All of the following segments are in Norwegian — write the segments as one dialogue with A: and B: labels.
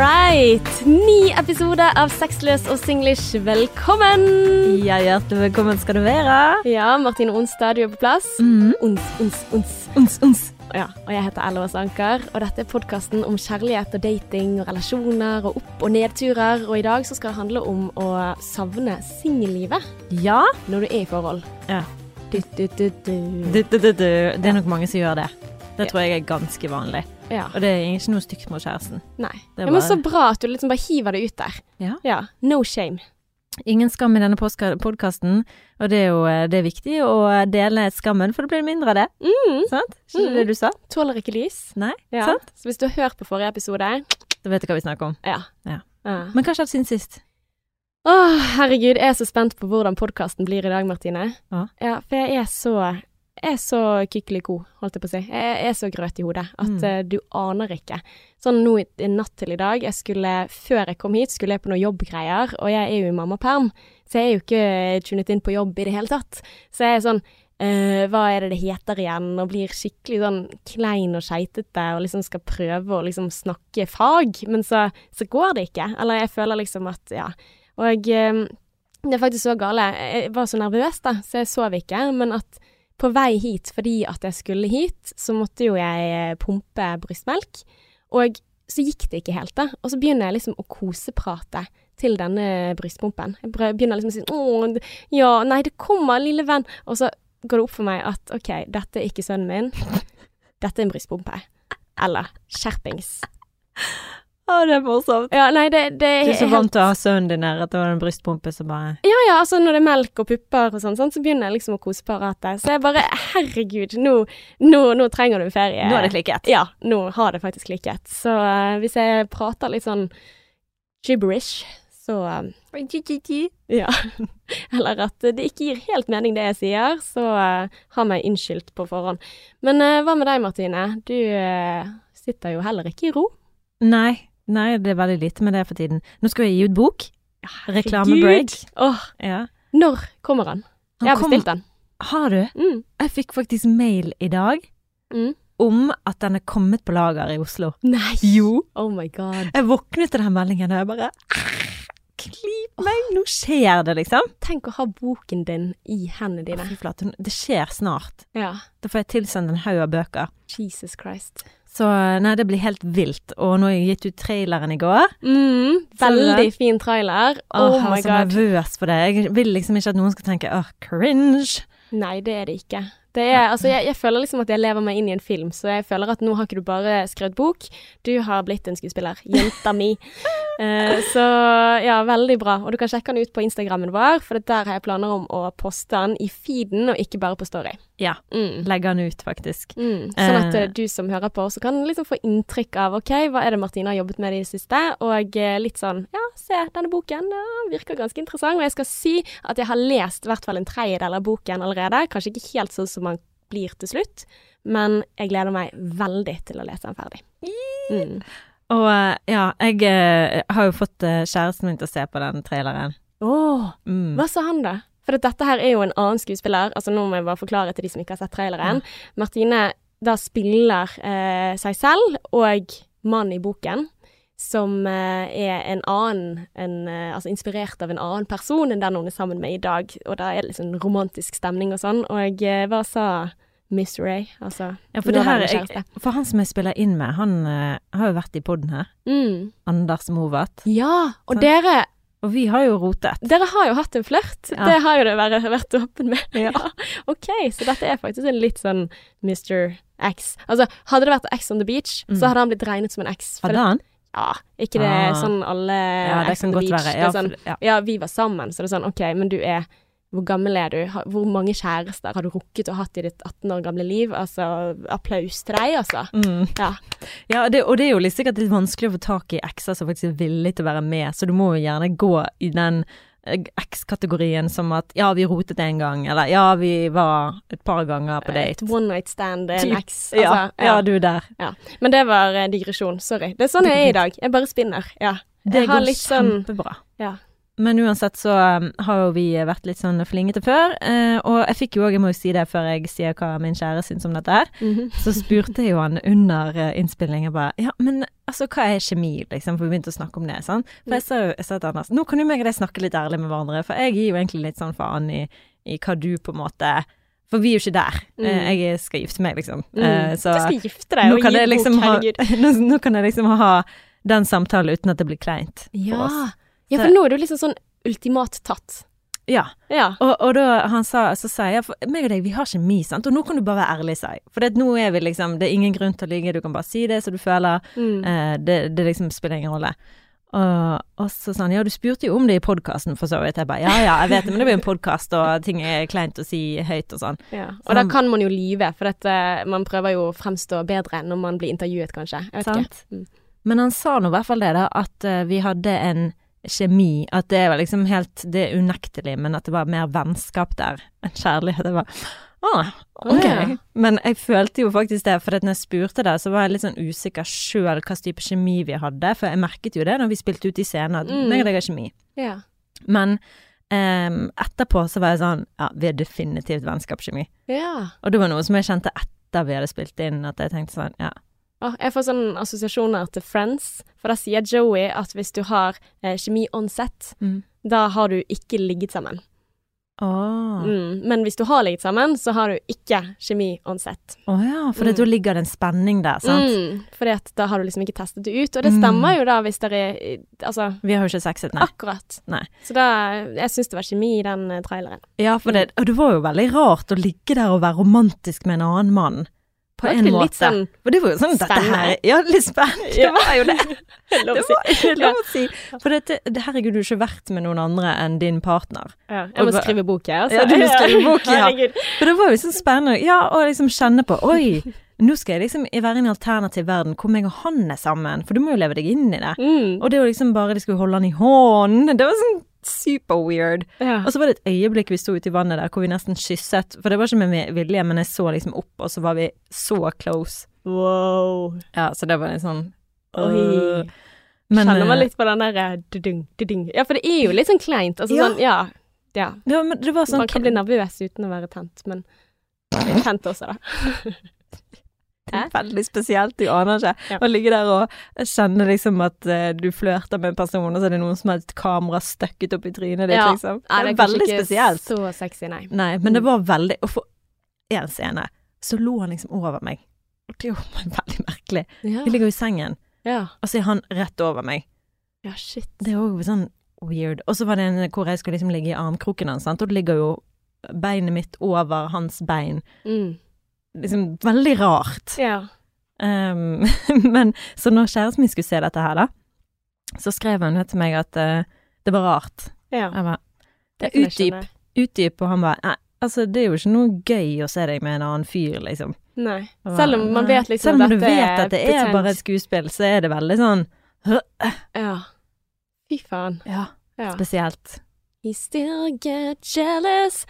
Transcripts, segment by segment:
A: Date. Ny episode av Sexløs og singlish. Velkommen!
B: Ja, hjertelig velkommen skal du være.
A: Ja, Martine Onstad, du er på plass.
B: Mm.
A: Ons, ons, ons.
B: Uns, uns.
A: Ja, og jeg heter Elva Sanker, og dette er podkasten om kjærlighet og dating og relasjoner og opp- og nedturer. Og i dag så skal det handle om å savne singellivet
B: Ja.
A: når du er i forhold.
B: ja.
A: Du, du, du, du.
B: Du, du, du, du. Det er nok mange som gjør det. Det tror jeg er ganske vanlig.
A: Ja,
B: Og det er ikke noe stygt mot kjæresten.
A: nei.
B: Det er
A: Ja, men
B: bare-
A: så bra at du liksom bare hiver det ut der.
B: Ja.
A: Ja, no shame.
B: Ingen skam i denne podkasten, og det er jo eh, det er viktig å dele skammen, for det blir mindre av det.
A: Mm.
B: Sant? Ikke det det du sa?
A: Tåler ikke lys.
B: Nei?
A: Ja.
B: Sant?
A: Så hvis du har hørt på forrige episode
B: Da vet du hva vi snakker om.
A: Ja.
B: Ja.
A: Ja.
B: Men hva skjedde siden sist?
A: Åh, herregud, jeg er så spent på hvordan podkasten blir i dag, Martine.
B: Ja.
A: for jeg er så jeg er så kykeliko, holdt jeg på å si. Jeg er så grøt i hodet at
B: Mm.
A: eh, du aner ikke. Sånn nå i- i natt til i dag, jeg skulle, før jeg kom hit, skulle jeg på noen jobbgreier, og jeg er jo i mammaperm, så jeg er jo ikke tunet inn på jobb i det hele tatt. Så jeg er sånn eh, hva er det det heter igjen? Og blir skikkelig sånn klein og skeitete og liksom skal prøve å liksom snakke fag, men så, så går det ikke. Eller jeg føler liksom at ja. Og eh, det er faktisk så gale. Jeg var så nervøs, da, så jeg sov ikke. Men at på vei hit, fordi at jeg skulle hit, så måtte jo jeg eh, pumpe brystmelk. Og så gikk det ikke helt, da. Og så begynner jeg liksom å koseprate til denne brystpumpen. Jeg prø- begynner liksom å si Å, d- ja, nei, det kommer, lille venn. Og så går det opp for meg at OK, dette er ikke sønnen min. Dette er en brystpumpe. Eller skjerpings.
B: Å, det er morsomt.
A: Ja, nei, det, det
B: Du er så
A: helt-
B: vant til å ha sønnen din her, at det var en brystpumpe som bare
A: Ja, ja, altså når det er melk og pupper og sånn, sånn, så begynner jeg liksom å kose på rattet. Så jeg bare Herregud, nå, nå, nå trenger du en ferie.
B: Nå er det klikket.
A: Ja, nå har det faktisk klikket. Så eh, hvis jeg prater litt sånn gibberish, så eh, Ja. Eller at det ikke gir helt mening det jeg sier, så eh, har meg unnskyldt på forhånd. Men eh, hva med deg, Martine? Du eh, sitter jo heller ikke i ro.
B: Nei. Nei, det er veldig lite med det for tiden. Nå skal jeg gi ut bok. Reklamebreak.
A: Herregud. Åh,
B: Ja.
A: når kommer han?
B: Han
A: jeg har
B: kom-
A: bestilt den.
B: Har du?
A: Mm,
B: Jeg fikk faktisk mail i dag
A: mm.
B: om at den er kommet på lager i Oslo.
A: Nei!
B: Jo.
A: Oh my god.
B: Jeg våknet til den meldingen, og jeg bare "Ah, Klyp meg! Nå skjer det, liksom.
A: Tenk å ha boken din i hendene
B: Å,
A: dine.
B: Fy flate, det skjer snart.
A: Ja.
B: Da får jeg tilsendt en haug av bøker.
A: Jesus Christ.
B: Så nei, det blir helt vilt. Og nå har jeg gitt ut traileren i går.
A: Mm,
B: Ser du
A: veldig
B: det?
A: fin trailer.
B: Åh,
A: Oh
B: jeg var
A: my
B: så
A: god.
B: nervøs for det. Jeg vil liksom ikke at noen skal tenke åh, cringe.
A: Nei, det er det ikke. Det er, altså, jeg, jeg føler liksom at jeg lever meg inn i en film, så jeg føler at nå har ikke du bare skrevet bok, du har blitt en skuespiller. Jenta mi. Eh, så ja, veldig bra. Og du kan sjekke den ut på Instagrammen vår, for det der har jeg planer om å poste den i feeden, og ikke bare på Story.
B: Ja.
A: Mm.
B: Legger den ut, faktisk.
A: Mm, sånn at
B: Eh.
A: eh, du som hører på også kan liksom få inntrykk av OK, hva er det Martine har jobbet med i det siste? Og eh, litt sånn Ja, se, denne boken eh, virker ganske interessant. Og jeg skal si at jeg har lest i hvert fall en tredjedel av boken allerede. Kanskje ikke helt sånn som man blir til slutt, men jeg gleder meg veldig til å lese den ferdig. Mm.
B: Og eh, ja, jeg eh, har jo fått eh, kjæresten min til å se på den traileren.
A: Åh,
B: Mm.
A: Hva sa han da? For at dette her er jo en annen skuespiller. Altså Nå må jeg bare forklare til de som ikke har sett traileren. Martine da spiller eh, seg selv og mannen i boken, som eh, er en annen en, eh, Altså inspirert av en annen person enn den hun er sammen med i dag. Og da er det liksom romantisk stemning og sånn. Og eh, hva sa Miss Ray? Altså
B: Ja, for, det her,
A: nåværende
B: jeg, for han som jeg spiller inn med, han eh, har jo vært i poden her.
A: Mm.
B: Anders Movatt.
A: Ja, og
B: Sant.
A: dere
B: Og vi har jo rotet.
A: Dere har jo hatt en flørt.
B: Ja.
A: Det har jo det vært, vært åpen med. Ja. OK, så dette er faktisk en litt sånn Mr. X. Altså, hadde det vært X on the beach,
B: Mm.
A: så hadde han blitt regnet som en X. For
B: Hadde han?
A: ja, ikke det
B: Ah.
A: sånn alle
B: Ja, det
A: X
B: kan
A: on the beach.
B: godt være.
A: Det
B: Ja,
A: er sånn,
B: for, ja.
A: ja, vi var sammen, så det er sånn OK, men du er hvor gammel er du? Ha- Hvor mange kjærester har du rukket å hatt i ditt 18 år gamle liv? Altså, applaus til deg, altså.
B: Mm.
A: Ja.
B: ja det, og det er jo litt sikkert litt vanskelig å få tak i ekser som faktisk er villig til å være med, så du må jo gjerne gå i den eh, X-kategorien som at ja, vi rotet en gang, eller ja, vi var et par ganger på
A: Et
B: date.
A: one night stand, en
B: Typ.
A: X. Eh, Altså,
B: Ja, ja, du der.
A: Men det var eh, digresjon. Sorry. Det er sånn jeg er i dag. Jeg bare spinner. Ja.
B: Det
A: har
B: går
A: litt sånn-
B: kjempebra.
A: Ja.
B: Men uansett så um, har jo vi vært litt sånn flingete før, eh, og jeg fikk jo òg, jeg må jo si det før jeg sier hva min kjære syns om dette her,
A: Mhm.
B: så spurte jeg jo han under eh, innspillingen bare Ja, men altså, hva er kjemi, liksom? For vi begynte å snakke om det. sant? For jeg sa jo jeg sa til Anders nå kan jo meg og deg snakke litt ærlig med hverandre, for jeg gir jo egentlig litt sånn faen i, i hva du på en måte For vi er jo ikke der. Eh, Jeg skal gifte meg, liksom. Eh,
A: Mm.
B: Så
A: du skal gifte deg
B: nå
A: og
B: kan
A: gi
B: jeg
A: en
B: liksom
A: bok, herregud.
B: ha- nå, nå kan jeg liksom ha den samtalen uten at det blir kleint for
A: Ja.
B: oss.
A: ja, for
B: Så-
A: nå er du liksom sånn ultimat tatt.
B: Ja.
A: Ja.
B: Og, og da han sa, så sier jeg for meg og deg, vi har kjemi, sant? Og nå kan du bare være ærlig, sier jeg. For det, at nå er vi liksom, det er ingen grunn til å lyve, du kan bare si det som du føler.
A: Mm.
B: Eh, det, det liksom spiller ingen rolle. Og, og så sa han ja, du spurte jo om det i podkasten, for så vidt. Jeg bare ja ja, jeg vet det, men det blir en podkast, og ting er kleint å si høyt og sånn.
A: Ja.
B: Så
A: Og da
B: han-
A: kan man jo lyve, for dette, man prøver jo å fremstå bedre når man blir intervjuet, kanskje. Jeg vet
B: Sant.
A: ikke. Mm.
B: Men han sa nå i hvert fall det, da, at eh, vi hadde en kjemi. At det var liksom helt Det er unektelig, men at det var mer vennskap der enn kjærlighet. Jeg bare ah, ok.
A: Ja.
B: Men jeg følte jo faktisk det, for at når jeg spurte det, så var jeg litt sånn usikker sjøl hva slags type kjemi vi hadde. For jeg merket jo det når vi spilte ut i scenen, at
A: Mm.
B: meg og deg har kjemi.
A: Ja.
B: Men ehm, etterpå så var jeg sånn Ja, vi er definitivt vennskapskjemi.
A: ja.
B: Og det var noe som jeg kjente etter vi hadde spilt inn, at jeg tenkte sånn Ja.
A: Å, jeg får sånne assosiasjoner til Friends, for da sier Joey at hvis du har eh, kjemi on set,
B: Mm.
A: da har du ikke ligget sammen.
B: Åh.
A: Mm. Men hvis du har ligget sammen, så har du ikke kjemi on set.
B: Å ja, for det, da ligger det en spenning der, sant?
A: Mm. Fordi at da har du liksom ikke testet det ut, og det
B: Mm.
A: stemmer jo da hvis dere eh, Altså,
B: Vi har jo ikke sexet, nei.
A: akkurat.
B: Nei.
A: Så da Jeg syns det var kjemi i den eh, traileren.
B: Ja, for det, og det var jo veldig rart å ligge der og være romantisk med en annen mann. På
A: Var
B: en
A: ikke det
B: måte.
A: litt sånn
B: For det var jo sånn dette her,
A: spennende?
B: Ja, litt spennende.
A: Ja.
B: Det var jo det.
A: Lov å
B: Det
A: si.
B: var det er lov å si. For dette, det, herregud, du har ikke vært med noen andre enn din partner.
A: Ja, jeg må
B: Og ba-
A: skrive bok, jeg. Altså.
B: Ja, du må skrive bok, ja.
A: Herregud.
B: For det var jo liksom spennende. Ja, å liksom kjenne på Oi, nå skal jeg liksom være i en alternativ verden hvor meg og han er sammen. For du må jo leve deg inn i det.
A: Mm.
B: Og det å liksom bare de skulle holde han i hånden, det var sånn super weird.
A: Ja.
B: Og så var det et øyeblikk vi sto ute i vannet der hvor vi nesten kysset. For det var ikke med vilje, men jeg så liksom opp, og så var vi så close.
A: Wow.
B: Ja, så det var litt sånn
A: Oi.
B: øh. Men,
A: Kjenner man
B: eh,
A: litt på den der eh, dudung, dudung. Ja, for det er jo litt sånn kleint. Altså
B: Ja.
A: sånn, ja. ja.
B: det var, men det var sånn
A: Man kan bli nervøs uten å være tent, men litt tent også, da.
B: Det er veldig spesielt, du aner ikke.
A: Ja.
B: Å ligge der og kjenne liksom at eh, du flørter med en person, og så er det noen som har et kamera støkket opp i trynet ditt,
A: Ja.
B: liksom.
A: Nei,
B: Det er
A: kanskje
B: veldig
A: ikke
B: spesielt.
A: Så sexy, nei.
B: Nei, men det var veldig Og for én scene så lå han liksom over meg. Og det var veldig merkelig.
A: Ja.
B: Vi ligger jo i sengen,
A: Ja.
B: og så er han rett over meg.
A: ja, shit.
B: Det er òg sånn weird. Og så var det en hvor jeg skulle liksom ligge i armkroken hans, sant, og det ligger jo beinet mitt over hans bein.
A: Mm.
B: Liksom veldig rart.
A: Ja.
B: Um, men så når kjæresten min skulle se dette her, da, så skrev han til meg at eh, det var rart.
A: ja.
B: Jeg bare
A: Det kan
B: ja,
A: jeg
B: utdyp,
A: skjønne.
B: utdyp, og han bare Nei, altså, det er jo ikke noe gøy å se deg med en annen fyr, liksom.
A: Nei.
B: Jeg bare,
A: Selv om man
B: «Nei».
A: vet liksom
B: Selv om
A: dette
B: du vet at det er
A: pretend.
B: bare et skuespill, så er det veldig sånn
A: Ja. Fy faen.
B: Ja,
A: Ja.
B: spesielt.
A: You still get jealous.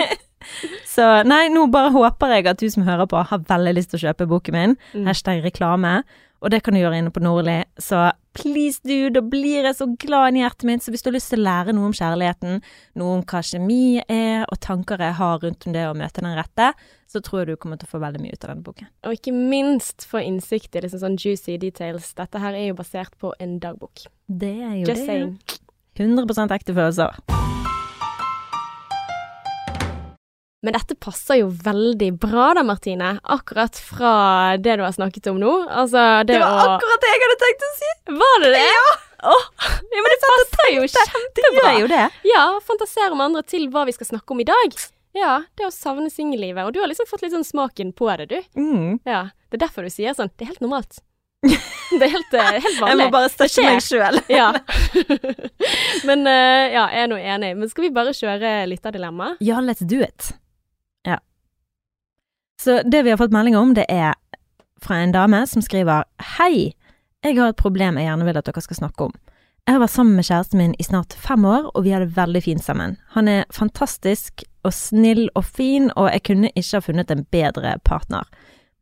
B: så nei, nå bare håper jeg at du som hører på, har veldig lyst til å kjøpe boken min.
A: Mm.
B: Hashtag reklame. Og det kan du gjøre inne på Nordli. Så please, du, da blir jeg så glad inni hjertet mitt. Så hvis du har lyst til å lære noe om kjærligheten, noe om hva kjemi er, og tanker jeg har rundt om det å møte den rette, så tror jeg du kommer til å få veldig mye ut av denne boken.
A: Og ikke minst få innsikt i liksom sånn juicy details. Dette her er jo basert på en dagbok.
B: Det er jo
A: Just saying.
B: 100 ekte følelser.
A: Men dette passer jo veldig bra da, Martine. Akkurat fra det du har snakket om nå. Altså, det,
B: Det var
A: å
B: akkurat det jeg hadde tenkt å si!
A: Var det det? Ja! ja men det passer jo
B: Det
A: kjempebra.
B: gjør jo det.
A: Ja, fantasere om andre til hva vi skal snakke om i dag. Ja, det å savne singellivet. Og du har liksom fått litt sånn smaken på det, du.
B: Mm.
A: Ja. Det er derfor du sier sånn. Det er helt normalt. Det er helt, eh, helt
B: Jeg
A: vanlig.
B: må bare støtte
A: skjer.
B: meg sjøl.
A: Ja. Men eh, ja, jeg er nå enig. Men skal vi bare kjøre lytterdilemma?
B: Ja, let's do it. Ja. Så det vi har fått melding om, det er fra en dame som skriver Hei, jeg har et problem jeg gjerne vil at dere skal snakke om. Jeg har vært sammen med kjæresten min i snart fem år, og vi har det veldig fint sammen. Han er fantastisk og snill og fin, og jeg kunne ikke ha funnet en bedre partner.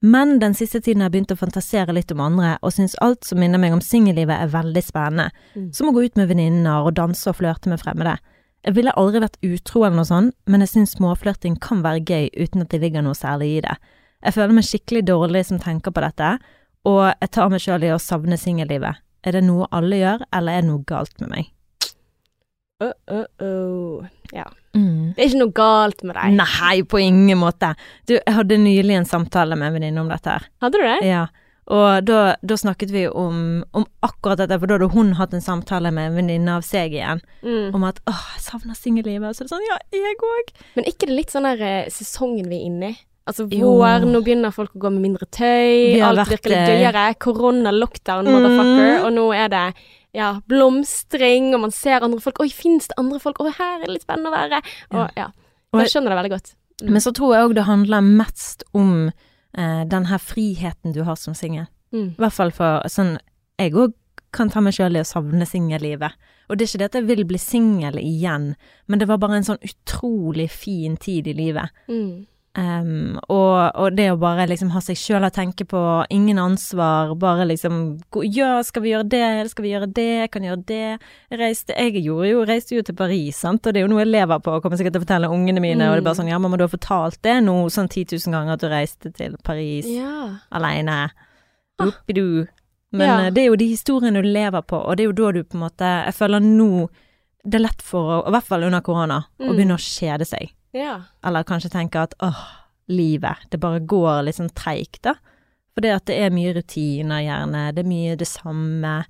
B: Men den siste tiden har jeg begynt å fantasere litt om andre, og syns alt som minner meg om singellivet er veldig spennende.
A: Mm.
B: Som å gå ut med venninner og danse og flørte med fremmede. Jeg ville aldri vært utro eller noe sånt, men jeg syns småflørting kan være gøy uten at det ligger noe særlig i det. Jeg føler meg skikkelig dårlig som tenker på dette, og jeg tar meg sjøl i å savne singellivet. Er det noe alle gjør, eller er det noe galt med meg?
A: Uh, uh, uh. Det er ikke noe galt med
B: Mm. Nei.
A: deg.
B: på ingen måte. Du, jeg hadde nylig en samtale med en venninne om dette her.
A: Hadde du det?
B: Ja. Og da, da snakket vi om, om akkurat dette, for da hadde hun hatt en samtale med en venninne av seg igjen
A: Mm.
B: om at åh, jeg savner singellivet. Og så er det sånn, ja, jeg òg.
A: Men er ikke det litt sånn der eh, sesongen vi er inne i? Altså
B: Jo.
A: vår, nå begynner folk å gå med mindre tøy,
B: Vi har
A: alt
B: vært
A: virker litt
B: det.
A: gøyere. Korona, lockdown, motherfucker.
B: Mm.
A: Og nå er det ja, blomstring, og man ser andre folk. Oi, fins det andre folk? Å, her er det litt spennende å være. Og ja.
B: Og-
A: Jeg skjønner det veldig godt. Mm.
B: Men så tror jeg òg det handler mest om eh, den her friheten du har som singel.
A: Mm.
B: I hvert fall for sånn Jeg òg kan ta meg sjøl i å savne singellivet. Og det er ikke det at jeg vil bli singel igjen, men det var bare en sånn utrolig fin tid i livet.
A: Mm.
B: Ehm, og, og det å bare liksom ha seg sjøl å tenke på, ingen ansvar, bare liksom gå- Ja, skal vi gjøre det, skal vi gjøre det, kan gjøre det. Jeg reiste, jeg gjorde jo, reiste jo til Paris, sant, og det er jo noe jeg lever på, og kommer sikkert til å fortelle ungene mine, og det
A: Mm.
B: er bare sånn Ja, mamma, du har fortalt det nå sånn 10 000 ganger at du reiste til Paris
A: Ja.
B: aleine.
A: Ah.
B: Oppidu. Men
A: Ja.
B: eh, det er jo de historiene du lever på, og det er jo da du på en måte Jeg føler nå det er lett for å, i hvert fall under korona, å
A: Mm.
B: begynne å kjede seg.
A: ja.
B: Eller kanskje tenke at åh, livet, det bare går litt sånn treigt, da. For det at det er mye rutiner, gjerne, det er mye det samme.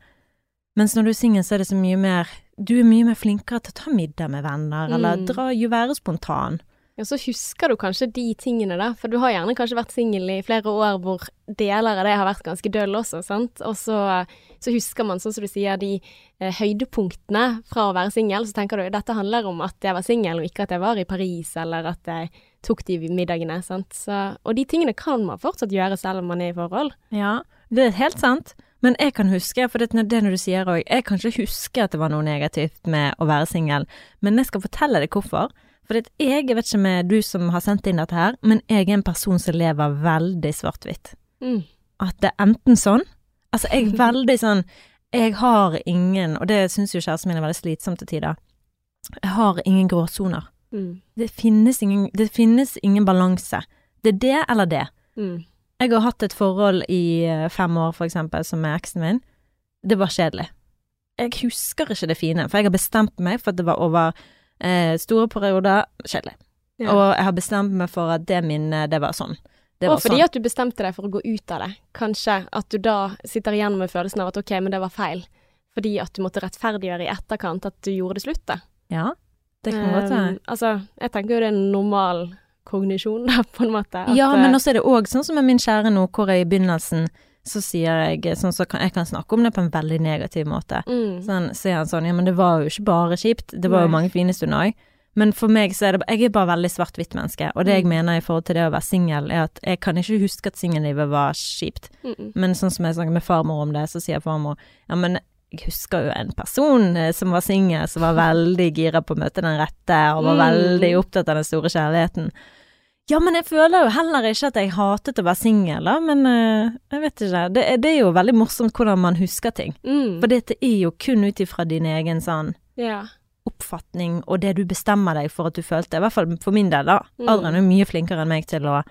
B: Mens når du er singel, så er det så mye mer Du er mye mer flinkere til å ta middag med venner, eller
A: Mm.
B: dra, jo være spontan.
A: Ja, så husker du kanskje de tingene, da. For du har gjerne kanskje vært singel i flere år hvor deler av det har vært ganske døll også, sant. Og så, så husker man, sånn som du sier, de eh, høydepunktene fra å være singel. Så tenker du dette handler om at jeg var singel, og ikke at jeg var i Paris, eller at jeg tok de middagene, sant. Så, og de tingene kan man fortsatt gjøre selv om man er i forhold.
B: Ja, det er helt sant. Men jeg kan huske, for det, det er når du sier òg Jeg kan ikke huske at det var noe negativt med å være singel, men jeg skal fortelle deg hvorfor. For det, jeg, jeg vet ikke med du som har sendt inn dette her, men jeg er en person som lever veldig svart-hvitt.
A: Mm.
B: At det er enten sånn Altså, jeg er veldig sånn Jeg har ingen, og det syns jo kjæresten min er veldig slitsomt til tider, jeg har ingen gråsoner.
A: Mm.
B: Det finnes ingen, det finnes ingen balanse. Det er det eller det.
A: Mm.
B: Jeg har hatt et forhold i eh, fem år, for eksempel, som er eksen min. Det var kjedelig. Jeg husker ikke det fine, for jeg har bestemt meg for at det var over eh, store perioder kjedelig.
A: Ja.
B: Og jeg har bestemt meg for at det minnet, det var sånn. Det
A: Og
B: var
A: fordi
B: sånn.
A: at du bestemte deg for å gå ut av det, kanskje at du da sitter igjen med følelsen av at ok, men det var feil. Fordi at du måtte rettferdiggjøre i etterkant at du gjorde det slutt, da.
B: Ja, det kan godt være.
A: Um, altså, jeg tenker jo det er en normal kognisjon, da, på en måte. At,
B: Ja, men
A: eh,
B: også er det òg sånn som med min kjære nå, hvor jeg i begynnelsen så sier jeg sånn så kan, jeg kan snakke om det på en veldig negativ måte.
A: mm,
B: Sånn, så er han sånn, ja, men det var jo ikke bare kjipt, det var jo
A: Nei.
B: mange fine stunder òg. Men for meg så er det Jeg er bare veldig svart-hvitt menneske, og det jeg
A: Mm.
B: mener i forhold til det å være singel, er at jeg kan ikke huske at singellivet var kjipt.
A: mm, mm.
B: Men sånn som jeg snakker med farmor om det, så sier farmor ja, men jeg husker jo en person eh, som var singel, som var veldig gira på å møte den rette, og var
A: Mm.
B: veldig opptatt av den store kjærligheten. Ja, men jeg føler jo heller ikke at jeg hatet å være singel, da, men eh, jeg vet ikke. Det, er- det er jo veldig morsomt hvordan man husker ting.
A: Mm,
B: For dette er jo kun ut ifra din egen sånn
A: ja.
B: oppfatning og det du bestemmer deg for at du følte. I hvert fall for min del, da.
A: Mm.
B: Adrian er jo mye flinkere enn meg til å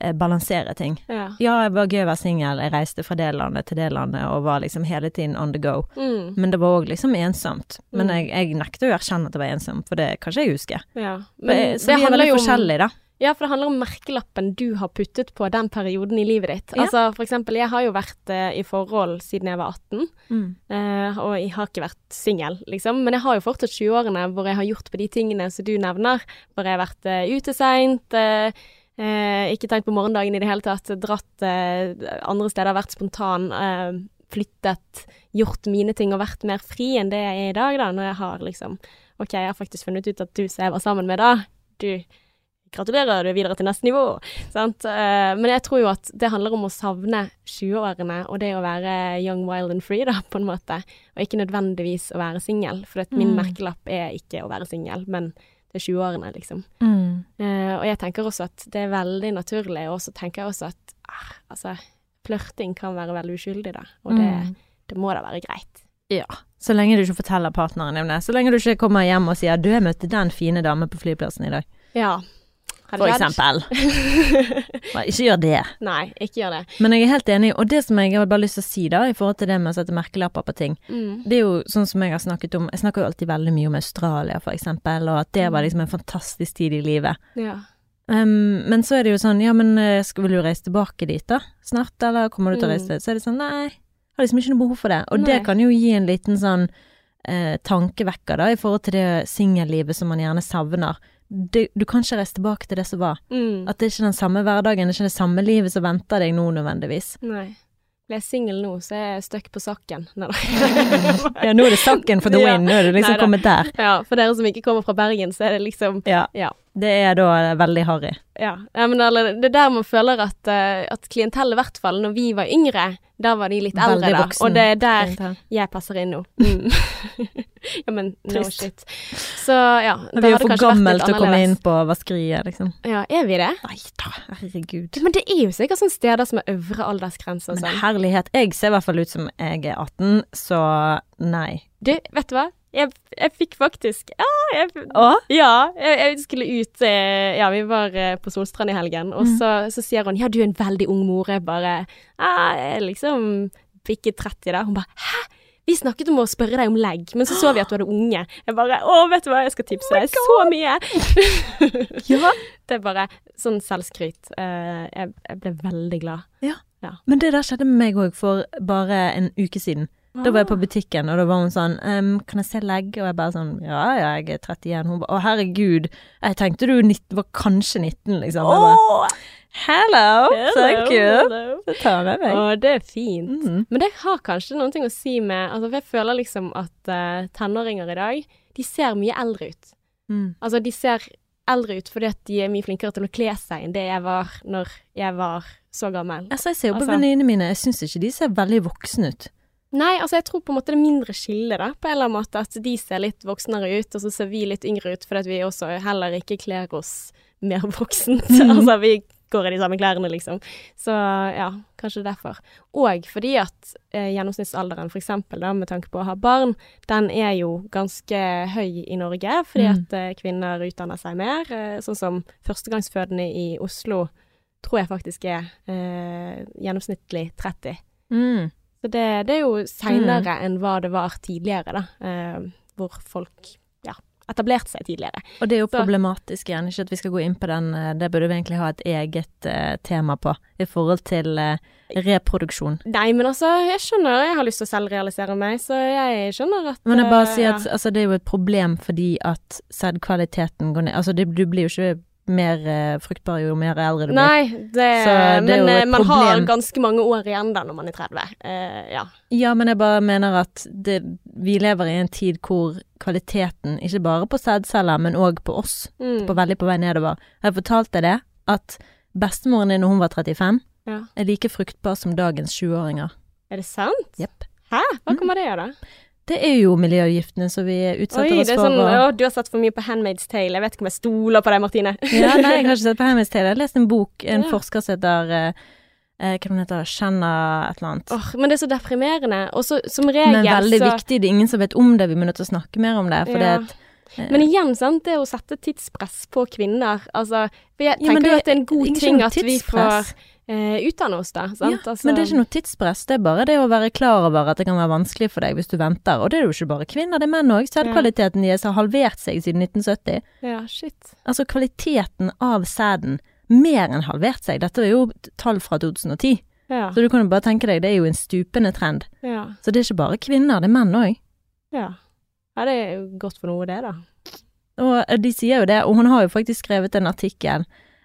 B: eh, balansere ting.
A: ja.
B: Ja, det var gøy å være singel, jeg reiste fra det landet til det landet og var liksom hele tiden on the go.
A: Mm,
B: Men det var òg liksom ensomt. Men
A: Mm.
B: jeg, jeg nekter jo å erkjenne at det var ensomt, for det kan ikke jeg huske.
A: ja.
B: Men, Eh, så vi er
A: handler
B: veldig
A: jo om
B: forskjellige, da.
A: Ja, for det handler om merkelappen du har puttet på den perioden i livet ditt.
B: Ja.
A: Altså, for eksempel, jeg har jo vært eh, i forhold siden jeg var 18. Eh, og jeg har ikke vært singel, liksom. Men jeg har jo fortsatt 20-årene hvor jeg har gjort på de tingene som du nevner. Hvor jeg har vært eh, ute seint, eh, eh, ikke tenkt på morgendagen i det hele tatt. Dratt eh, andre steder, vært spontan. Eh, flyttet, gjort mine ting og vært mer fri enn det jeg er i dag, da. Når jeg har liksom OK, jeg har faktisk funnet ut at du som jeg var sammen med da, du Gratulerer, du er videre til neste nivå. Sant? Eh, Men jeg tror jo at det handler om å savne 20-årene og det å være young, wild and free, da, på en måte. Og ikke nødvendigvis å være singel, for at min
B: Mm.
A: merkelapp er ikke å være singel, men til 20-årene, liksom.
B: Mm.
A: Eh, og jeg tenker også at det er veldig naturlig, og så tenker jeg også at ah, altså, flørting kan være veldig uskyldig, da. Og det,
B: Mm.
A: det må da være greit.
B: Så lenge du ikke forteller partneren din det. Så lenge du ikke kommer hjem og sier 'du, jeg møtte den fine dame på flyplassen i dag',
A: Ja. Har
B: for
A: det skjedd?
B: eksempel. Bare Ikke gjør det.
A: Nei, ikke gjør det.
B: Men jeg er helt enig, og det som jeg har bare lyst til å si da, i forhold til det med å sette merkelapper på ting,
A: Mm.
B: det er jo sånn som jeg har snakket om Jeg snakker jo alltid veldig mye om Australia, for eksempel, og at det
A: Mm.
B: var liksom en fantastisk tid i livet.
A: Ja.
B: Um, men så er det jo sånn, ja, men eh, skal vil du reise tilbake dit da? Snart, eller kommer du til å reise
A: Mm.
B: dit? Så er det sånn, nei, jeg har liksom ikke noe behov for det. Og det
A: Nei.
B: kan jo gi en liten sånn eh, tankevekker da, i forhold til det singellivet som man gjerne savner. Det, du kan ikke reise tilbake til det som var.
A: Mm.
B: At det er ikke den samme hverdagen, det er ikke det samme livet som venter deg nå nødvendigvis.
A: Nei. Blir jeg singel nå, så er jeg stuck på sokken. Nei da.
B: Ja, nå er det saken for the
A: Ja.
B: win, nå er du liksom
A: Neida.
B: kommet der.
A: ja, for dere som ikke kommer fra Bergen, så er det liksom
B: Ja,
A: Ja.
B: det er da veldig harry.
A: Ja, ja men alle, det er der man føler at, eh, at klientellet, i hvert fall når vi var yngre, da var de litt
B: Veldig
A: eldre, da.
B: voksen
A: Og det er der
B: Når
A: jeg passer inn nå. Mm. ja, men no
B: Trist.
A: shit. Så ja, da
B: Vi er jo
A: hadde
B: for
A: kanskje vært
B: gammel
A: litt
B: til å komme inn
A: annerledes.
B: på vaskeriet, liksom.
A: Ja, er vi det?
B: Nei da, herregud.
A: Men det er jo sikkert sånne steder som er øvre aldersgrense og
B: Men
A: sånn.
B: herlighet, jeg ser i hvert fall ut som jeg er 18, så nei.
A: Du, vet du hva? Jeg, jeg fikk faktisk Ja, jeg,
B: Å?
A: ja, jeg, jeg skulle ut eh, Ja, vi var eh, på Solstrand i helgen, og så, så sier hun Ja, du er en veldig ung mor. Jeg bare ja, Jeg er liksom bikket 30 da. Hun bare Hæ? Vi snakket om å spørre deg om legg, men så så vi at du hadde unge. Jeg bare Å, vet du hva, jeg skal tipse deg så mye.
B: Ja.
A: Det er bare sånn selvskryt. Eh, jeg, jeg ble veldig glad.
B: Men det der skjedde med meg òg for bare en uke siden. Da var jeg
A: Ah.
B: på butikken, og da var hun sånn ehm, 'Kan jeg se legg?' Og jeg bare sånn 'Ja, ja, jeg er 31.' Hun bare 'Å, herregud, jeg tenkte du 19, var kanskje 19', liksom. Jeg bare,
A: Åh,
B: Hello, thank you.
A: hello.
B: Det tar med meg.
A: Å, det er fint.
B: Mm.
A: Men det har kanskje noen ting å si med altså, For jeg føler liksom at eh, tenåringer i dag, de ser mye eldre ut.
B: Mm.
A: Altså, de ser eldre ut fordi at de er mye flinkere til å kle seg enn det jeg var når jeg var så gammel.
B: Altså, jeg ser jo på
A: Altså-
B: venninnene mine, jeg syns ikke de ser veldig voksne ut.
A: Nei, altså, jeg tror på en måte det er mindre skille, da, på en eller annen måte. At de ser litt voksnere ut, og så ser vi litt yngre ut fordi at vi også heller ikke kler oss mer voksent. altså, vi går i de samme klærne, liksom. Så ja, kanskje derfor. Og fordi at eh, gjennomsnittsalderen, for eksempel, da, med tanke på å ha barn, den er jo ganske høy i Norge, fordi
B: Mm.
A: at eh, kvinner utdanner seg mer. Eh, sånn som førstegangsfødende i Oslo tror jeg faktisk er eh, gjennomsnittlig 30.
B: Mm.
A: Så det, det er jo seinere enn hva det var tidligere, da. Eh, hvor folk ja, etablerte seg tidligere.
B: Og det er jo
A: Så-
B: problematisk igjen, ikke at vi skal gå inn på den, eh, det burde vi egentlig ha et eget eh, tema på, i forhold til eh, reproduksjon.
A: Nei, men altså, jeg skjønner, jeg har lyst til å selvrealisere meg, så jeg skjønner at
B: Men jeg bare
A: eh,
B: sier
A: ja.
B: at altså, det er jo et problem fordi at sædkvaliteten går ned. Altså det, du blir jo ikke mer eh, fruktbar jo mer eldre du blir.
A: Nei, det,
B: Så det
A: men
B: er jo
A: eh,
B: et
A: man har
B: problem.
A: ganske mange år igjen da når man er 30. Eh, ja.
B: Ja, men jeg bare mener at det, vi lever i en tid hvor kvaliteten, ikke bare på sædceller, men òg på oss,
A: Mm.
B: på veldig på vei nedover. Jeg fortalte deg det, at bestemoren din da hun var 35,
A: ja.
B: er like fruktbar som dagens 20-åringer.
A: Er det sant?
B: Jepp.
A: Hæ?
B: Mm.
A: Hva kommer det av, da?
B: Det er jo miljøgiftene som vi utsetter
A: Oi,
B: oss
A: det er
B: for.
A: sånn
B: og-
A: Å, du har sett for mye på Handmaid's Tale. Jeg vet ikke om jeg stoler på deg, Martine.
B: ja, nei, jeg har ikke sett på Handmaid's Tale. Jeg har lest en bok, en
A: Ja.
B: forsker som heter eh, eh, Hva hun heter hun? Shanna et eller annet.
A: Åh, men det er så deprimerende. Og så, som regel,
B: Men veldig
A: så
B: viktig. Det er ingen som vet om det. Vi må nødt til å snakke mer om det. eh, For
A: Ja.
B: det,
A: Men igjen, sant, det å sette tidspress på kvinner altså, For jeg
B: Ja, men
A: tenker jo
B: det-
A: at det er en god
B: ingen
A: ting
B: noe
A: at vi får
B: tidspress.
A: eh, utdanne oss, da.
B: ja,
A: Sant? altså,
B: Men det er ikke noe tidspress. Det er bare det å være klar over at det kan være vanskelig for deg hvis du venter. Og det er jo ikke bare kvinner, det er menn òg. Sædkvaliteten deres har halvert seg siden 1970.
A: Ja, shit.
B: Altså kvaliteten av sæden mer enn halvert seg. Dette er jo tall fra 2010.
A: Ja,
B: Så du kan jo bare tenke deg, det er jo en stupende trend.
A: ja,
B: Så det er ikke bare kvinner, det er menn òg.
A: ja. ja, det er jo godt for noe, det, da.
B: Og eh, de sier jo det, og hun har jo faktisk skrevet en artikkel.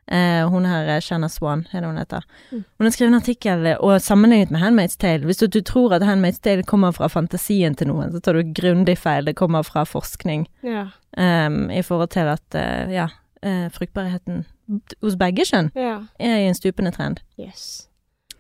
B: Eh, hun her eh, Shanna Swan, er det hun heter.
A: Mm.
B: Hun har skrevet en artikkel eh, og sammenlignet med Handmaid's Tale. Hvis du, du tror at Handmaid's Tale kommer fra fantasien til noen, så tar du grundig feil. Det kommer fra forskning
A: Ja,
B: em, i forhold til at eh, ja, eh, fruktbarheten hos begge kjønn
A: ja.
B: er i en stupende trend.
A: Yes.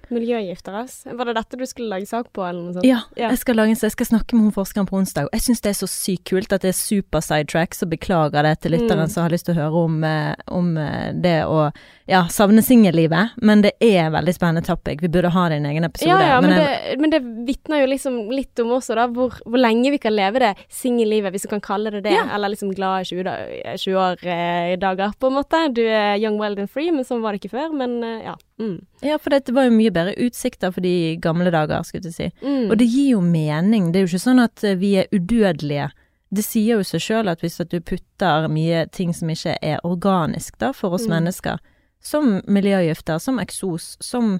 A: Miljøgifter, ass. Var det dette du skulle lage sak på, eller noe sånt?
B: Ja,
A: Ja.
B: jeg skal, lage en, jeg skal snakke med hun forskeren på onsdag. og Jeg syns det er så sykt kult at det er super sidetrack, så beklager det til lytteren
A: Mm.
B: som har lyst til å høre om, eh, om eh, det å ja, savne singellivet. Men det er en veldig spennende topic. Vi burde ha det i en egen episode.
A: Ja, ja, men,
B: jeg-
A: det, men det vitner jo liksom litt om også, da, hvor, hvor lenge vi kan leve det singellivet, hvis du kan kalle det det,
B: Ja.
A: eller liksom glade 20-år-dager, eh, på en måte. Du er young, wild and free, men sånn var det ikke før, men eh, ja. Mm.
B: ja, for det var jo mye bedre utsikter for de gamle dager, skulle jeg til å si.
A: Mm.
B: Og det gir jo mening. Det er jo ikke sånn at eh, vi er udødelige. Det sier jo seg sjøl at hvis at du putter mye ting som ikke er organisk da, for oss
A: Mm.
B: mennesker, som miljøgifter, som eksos, som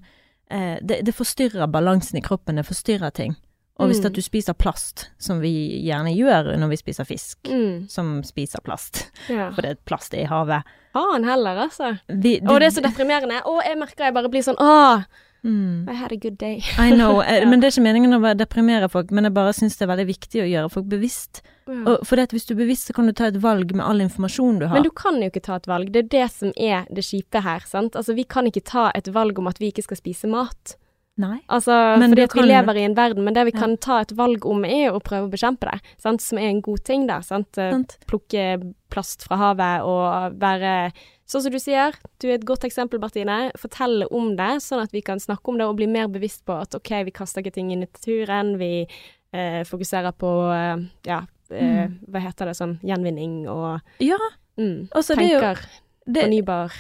B: eh, det, det forstyrrer balansen i kroppen, det forstyrrer ting. Og hvis
A: Mm.
B: at du spiser plast, som vi gjerne gjør når vi spiser fisk,
A: Mm.
B: som spiser plast,
A: Ja.
B: for det er plast i havet
A: Faen heller, altså.
B: vi,
A: Å, det er så deprimerende. Å, jeg merker jeg bare blir sånn Å,
B: Mm.
A: I had a good day.
B: I know. eh, Men det er ikke meningen å være- deprimere folk, men jeg bare syns det er veldig viktig å gjøre folk bevisst
A: Ja.
B: Og for det at hvis du er bevisst, så kan du ta et valg med all informasjon du har.
A: Mm. Men du kan jo ikke ta et valg. Det er det som er det kjipe her, sant. Altså, vi kan ikke ta et valg om at vi ikke skal spise mat.
B: Nei.
A: Altså,
B: Men
A: fordi
B: du
A: at vi
B: kan-
A: lever i en verden, men det vi
B: Ja.
A: kan ta et valg om, er å prøve å bekjempe det, sant? som er en god ting der. Sant? Eh,
B: Sant.
A: Plukke plast fra havet og være Sånn som du sier, du er et godt eksempel, Bertine. Fortelle om det, sånn at vi kan snakke om det og bli mer bevisst på at OK, vi kaster ikke ting i naturen, vi eh, fokuserer på eh, ja, eh, hva heter det, sånn gjenvinning og
B: Mm. Ja,
A: mm,
B: altså det er jo
A: Tenker
B: det,
A: fornybar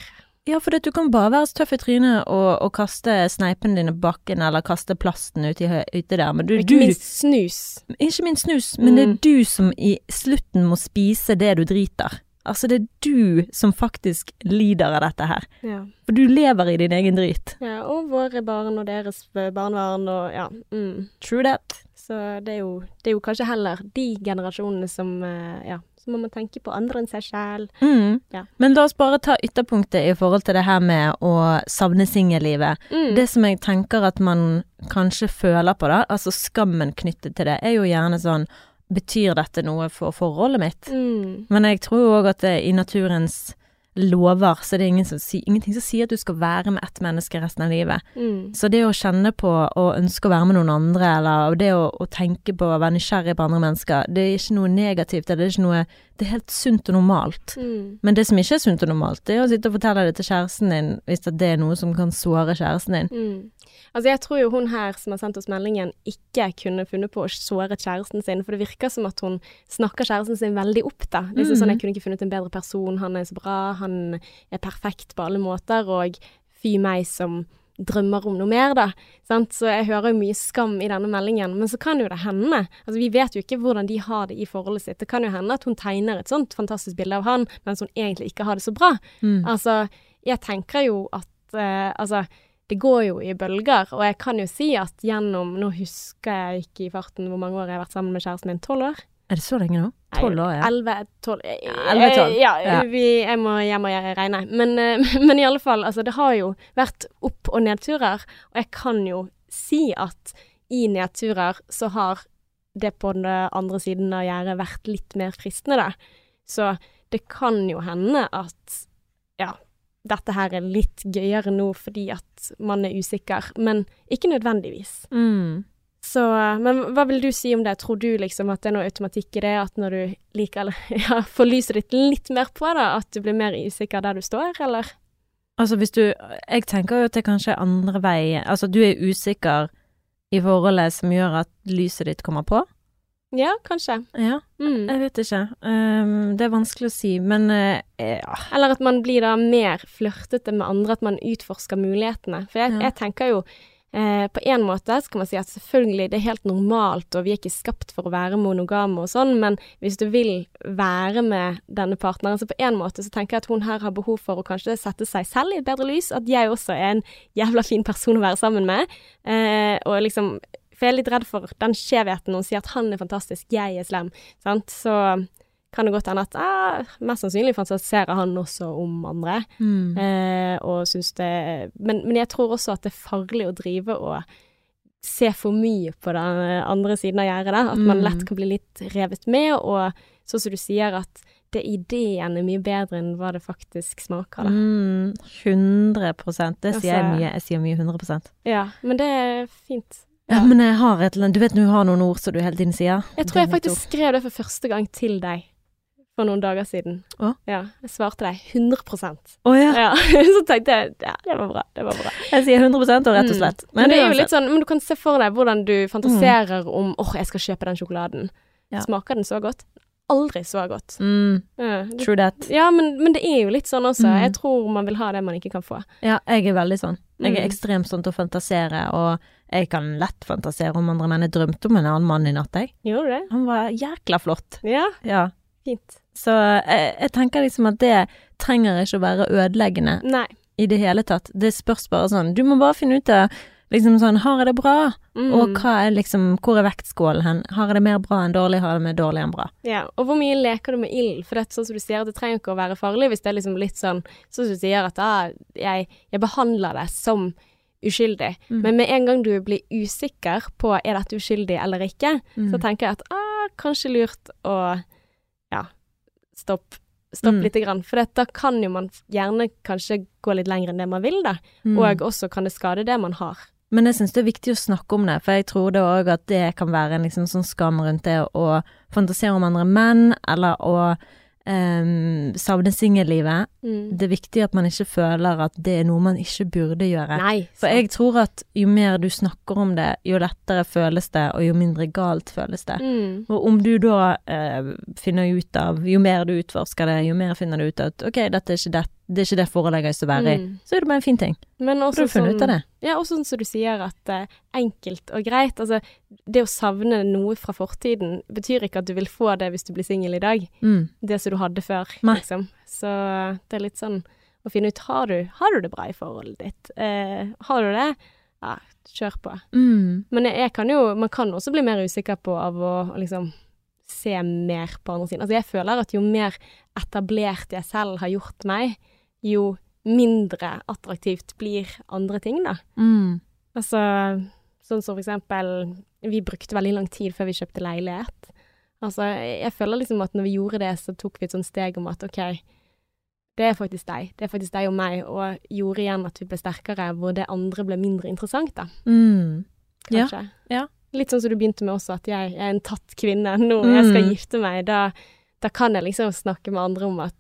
B: Ja, for det at du kan bare være så tøff i trynet og, og kaste sneipene dine på bakken, eller kaste plasten uti hø- ute der, men du,
A: Ikke
B: du
A: minst snus.
B: Ikke minst snus, men det er
A: Mm.
B: du som i slutten må spise det du driter. Altså, det er du som faktisk lider av dette her.
A: Ja.
B: For du lever i din egen drit.
A: Ja, og våre barn og deres barnebarn og ja. Mm.
B: True that.
A: Så det er, jo, det er jo kanskje heller de generasjonene som eh, Ja, så må man tenke på andre enn seg sjæl.
B: Mm.
A: Ja.
B: Men la oss bare ta ytterpunktet i forhold til det her med å savne singellivet.
A: Mm.
B: Det som jeg tenker at man kanskje føler på da, altså skammen knyttet til det, er jo gjerne sånn Betyr dette noe for forholdet mitt?
A: Mm.
B: Men jeg tror jo òg at det, i naturens lover så er det ingen som si, ingenting som sier at du skal være med ett menneske resten av livet.
A: Mm.
B: Så det å kjenne på og ønske å være med noen andre, eller og det å, å tenke på å være nysgjerrig på andre mennesker, det er ikke noe negativt. Det er, ikke noe, det er helt sunt og normalt.
A: Mm.
B: Men det som ikke er sunt og normalt, det er å sitte og fortelle det til kjæresten din hvis at det er noe som kan såre kjæresten din.
A: Mm. Altså, jeg tror jo hun her som har sendt oss meldingen, ikke kunne funnet på å såre kjæresten sin, for det virker som at hun snakker kjæresten sin veldig opp, da. Liksom
B: Mhm.
A: sånn, jeg kunne ikke funnet en bedre person, han er så bra, han er perfekt på alle måter, og fy meg som drømmer om noe mer, da. Sant? Så jeg hører jo mye skam i denne meldingen, men så kan jo det hende. Altså, vi vet jo ikke hvordan de har det i forholdet sitt. Det kan jo hende at hun tegner et sånt fantastisk bilde av han, mens hun egentlig ikke har det så bra.
B: Mm.
A: Altså, jeg tenker jo at eh, Altså, det går jo i bølger, og jeg kan jo si at gjennom Nå husker jeg ikke i farten hvor mange år jeg har vært sammen med kjæresten min. Tolv år?
B: Er det så lenge nå? Tolv år, ja.
A: 11, 12 eh,
B: Elleve, tolv.
A: Ja,
B: Ja.
A: Vi, jeg må hjem og gjøre- regne. Men, eh, men i alle fall, altså, det har jo vært opp- og nedturer, og jeg kan jo si at i nedturer så har det på den andre siden av gjerdet vært litt mer fristende, da. Så det kan jo hende at ja, dette her er litt gøyere nå fordi at man er usikker, men ikke nødvendigvis.
B: Mm.
A: Så, men hva vil du si om det? Tror du liksom at det er noe automatikk i det, at når du liker ja, får lyset ditt litt mer på det, at du blir mer usikker der du står, eller?
B: Altså hvis du Jeg tenker jo at det kanskje er andre vei Altså du er usikker i forholdet som gjør at lyset ditt kommer på.
A: Ja, kanskje.
B: Ja,
A: Mm.
B: jeg vet ikke. Ehm, det er vanskelig å si, men eh, ja.
A: Eller at man blir da mer flørtete med andre, at man utforsker mulighetene. For jeg,
B: Ja.
A: jeg tenker jo eh, På en måte så kan man si at selvfølgelig, det er helt normalt, og vi er ikke skapt for å være monogame og sånn, men hvis du vil være med denne partneren, så på en måte så tenker jeg at hun her har behov for å kanskje sette seg selv i et bedre lys, at jeg også er en jævla fin person å være sammen med. Eh, og liksom For jeg er litt redd for den skjevheten hun sier at han er fantastisk, jeg er slem. Sant? Så kan det godt hende at eh, mest sannsynlig fantaserer han også om andre.
B: Mm.
A: Eh, og syns det men, men jeg tror også at det er farlig å drive og se for mye på den andre siden av gjerdet. der. At man
B: Mm.
A: lett kan bli litt revet med, og sånn som du sier, at det ideen er mye bedre enn hva det faktisk smaker, da.
B: Mm, 100 Det sier jeg
A: Altså-
B: mye. Jeg sier mye 100
A: Ja, men det er fint.
B: Ja, men jeg har et eller annet Du vet når du har noen ord som du hele tiden sier?
A: Jeg tror jeg faktisk skrev det for første gang til deg for noen dager siden.
B: Å?
A: Ja, jeg svarte deg 100
B: Å ja.
A: ja. Så tenkte jeg ja, det var bra. det var bra.
B: Jeg sier 100 og rett og
A: Mm.
B: slett.
A: Men, det er jo
B: uansett. Mm.
A: litt sånn, men du kan se for deg hvordan du fantaserer om åh, jeg skal kjøpe den sjokoladen.
B: Ja.
A: Smaker den så godt? Aldri så godt.
B: mm,
A: Ja, det-
B: True that.
A: Ja, men, men det er jo litt sånn også.
B: Mm.
A: Jeg tror man vil ha det man ikke kan få.
B: Ja, jeg er veldig sånn. Jeg er
A: Mm.
B: ekstremt sånn til å fantasere, og jeg kan lett fantasere om andre menn. Jeg drømte om en annen mann i natt, jeg.
A: Gjør du det?
B: Han var jækla flott.
A: Ja,
B: Ja.
A: fint.
B: Så jeg, jeg tenker liksom at det trenger ikke å være ødeleggende
A: Nei.
B: i det hele tatt. Det spørs bare sånn Du må bare finne ut av liksom sånn Har jeg det bra?
A: Mm.
B: Og hva er liksom Hvor er vektskålen hen? Har jeg det mer bra enn dårlig? Har jeg det mer dårlig enn bra?
A: Ja, og hvor mye leker du med ild? For det er sånn som du sier, det trenger ikke å være farlig hvis det er liksom litt sånn, sånn som du sier at ah, jeg, jeg behandler det som uskyldig.
B: Mm.
A: Men med en gang du blir usikker på er dette uskyldig eller ikke,
B: Mm.
A: så tenker jeg at ah, kanskje lurt å ja, stopp. Stopp
B: Mm.
A: lite grann, for det, da kan jo man gjerne kanskje gå litt lenger enn det man vil da,
B: Mm.
A: og også kan det skade det man har.
B: Men jeg syns det er viktig å snakke om det, for jeg tror det òg at det kan være en liksom sånn skam rundt det å fantasere om andre menn, eller å um, savne singellivet. Det er viktig at man ikke føler at det er noe man ikke burde gjøre.
A: Nei.
B: For
A: sant.
B: jeg tror at jo mer du snakker om det, jo lettere føles det, og jo mindre galt føles det.
A: Mm.
B: Og om du da eh, finner ut av Jo mer du utforsker det, jo mer finner du ut at ok, dette er ikke det, det, er ikke det forelegget jeg skal være i,
A: Mm.
B: så er det bare en fin ting.
A: Men
B: Så
A: også
B: har du funnet
A: sånn-
B: ut av det.
A: Ja, og sånn som du sier at eh, enkelt og greit. Altså, det å savne noe fra fortiden betyr ikke at du vil få det hvis du blir singel i dag.
B: Mm.
A: Det som du hadde før,
B: Nei.
A: liksom. Så det er litt sånn å finne ut har du, har du det bra i forholdet ditt. Eh, har du det? Ja, kjør på.
B: Mm.
A: Men jeg, jeg kan jo, man kan også bli mer usikker på av å liksom se mer på andre siden. Altså jeg føler at jo mer etablert jeg selv har gjort meg, jo mindre attraktivt blir andre ting, da.
B: Mm.
A: Altså, sånn som for eksempel Vi brukte veldig lang tid før vi kjøpte leilighet. Altså, jeg føler liksom at når vi gjorde det, så tok vi et sånt steg om at OK, det er faktisk deg. Det er faktisk deg og meg, og gjorde igjen at vi ble sterkere, hvor det andre ble mindre interessant, da,
B: Mm. Ja,
A: kanskje.
B: ja.
A: Litt sånn som du begynte med også, at jeg, jeg er en tatt kvinne nå, jeg skal
B: Mm.
A: gifte meg. Da, da kan jeg liksom snakke med andre om at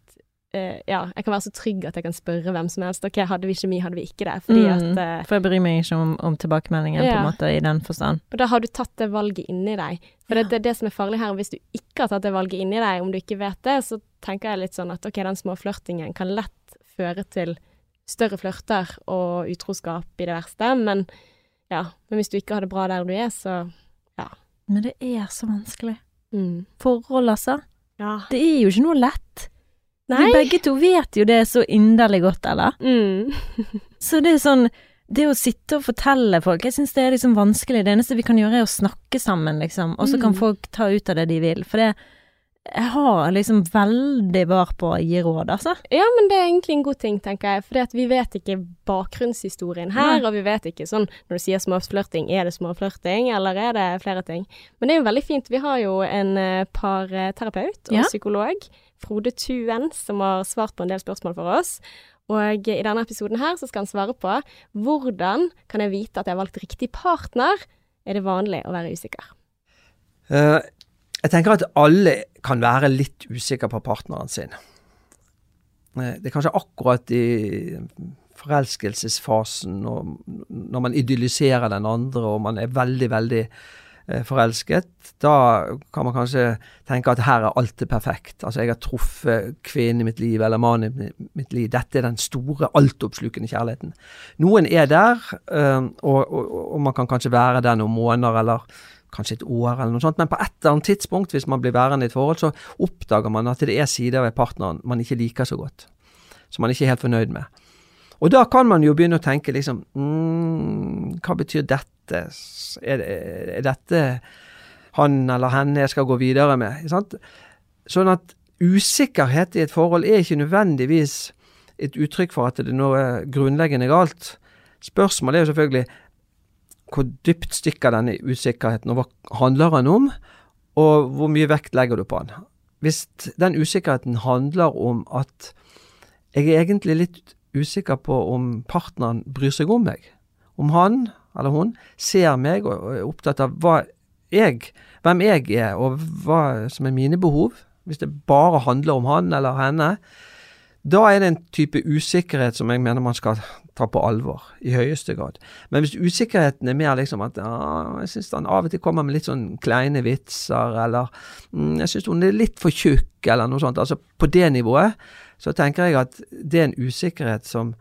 A: eh, ja, jeg kan være så trygg at jeg kan spørre hvem som helst. OK, hadde vi kjemi, hadde vi ikke det? Fordi
B: Mm.
A: at eh,
B: For jeg bryr meg ikke om, om tilbakemeldingen på
A: Ja.
B: en måte i den forstand.
A: Og da har du tatt det valget inni deg. For det, det er det som er farlig her. Hvis du ikke har tatt det valget inni deg, om du ikke vet det, så tenker jeg litt sånn at ok, den småflørtingen kan lett føre til større flørter og utroskap i det verste, men ja. Men hvis du ikke har det bra der du er, så
B: Men det er så vanskelig.
A: mm.
B: Forhold, altså.
A: Ja.
B: Det er jo ikke noe lett.
A: Nei.
B: Vi begge to vet jo det så inderlig godt, eller?
A: Mm.
B: Så det er sånn Det å sitte og fortelle folk Jeg syns det er liksom vanskelig. Det eneste vi kan gjøre, er å snakke sammen, liksom. Og så kan
A: Mm.
B: folk ta ut av det de vil. For det Jeg har liksom veldig var på å gi råd, altså.
A: Ja, men det er egentlig en god ting, tenker jeg. For vi vet ikke bakgrunnshistorien her,
B: Nei.
A: og vi vet ikke sånn når du sier småflørting, er det småflørting, eller er det flere ting? Men det er jo veldig fint. Vi har jo en eh, parterapeut og
B: Ja.
A: psykolog, Frode Tuen, som har svart på en del spørsmål for oss. Og eh, i denne episoden her så skal han svare på hvordan kan jeg vite at jeg har valgt riktig partner? Er det vanlig å være usikker?
C: Eh, jeg tenker at alle kan være litt usikre på partneren sin. Eh, Det er kanskje akkurat i forelskelsesfasen og når man idylliserer den andre og man er veldig, veldig eh, forelsket, da kan man kanskje tenke at her er alt det perfekt. Altså jeg har truffet kvinnen i mitt liv eller mannen i mi- mitt liv. Dette er den store, altoppslukende kjærligheten. Noen er der, eh, og, og, og man kan kanskje være der noen måneder eller kanskje et år eller noe sånt, men på et eller annet tidspunkt, hvis man blir værende i et forhold, så oppdager man at det er sider ved partneren man ikke liker så godt. Som man ikke er helt fornøyd med. Og da kan man jo begynne å tenke liksom mm, Hva betyr dette? S- Er, det- er dette han eller henne jeg skal gå videre med? Ikke sant? Sånn at usikkerhet i et forhold er ikke nødvendigvis et uttrykk for at det er noe grunnleggende galt. Spørsmålet er jo selvfølgelig hvor dypt stikker denne usikkerheten, og hva handler den om? Og hvor mye vekt legger du på den? hvis den usikkerheten handler om at jeg er egentlig litt usikker på om partneren bryr seg om meg. Om han eller hun ser meg og og er opptatt av hva jeg, hvem jeg er, og hva som er mine behov. Hvis det bare handler om han eller henne. Da er det en type usikkerhet som jeg mener man skal ta på alvor, i høyeste grad. Men hvis usikkerheten er mer liksom at ja, jeg syns han av og til kommer med litt sånn kleine vitser, eller mm, jeg syns hun er litt for tjukk, eller noe sånt, altså på det nivået, så tenker jeg at det er en usikkerhet som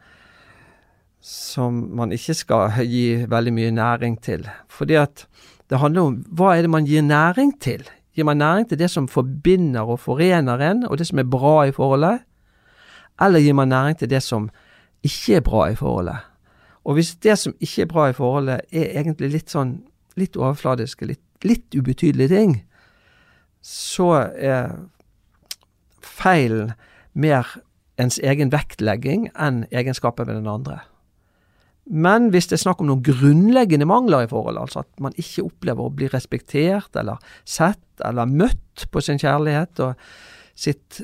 C: som man ikke skal gi veldig mye næring til. Fordi at det handler om hva er det man gir næring til? Gir man næring til det som forbinder og forener en, og det som er bra i forholdet? Eller gir man næring til det som ikke er bra i forholdet? Og hvis det som ikke er bra i forholdet, er egentlig litt sånn litt overfladiske, litt, litt ubetydelige ting, så er feilen mer ens egen vektlegging enn egenskapen ved den andre. Men hvis det er snakk om noen grunnleggende mangler i forholdet, altså at man ikke opplever å bli respektert eller sett eller møtt på sin kjærlighet og sitt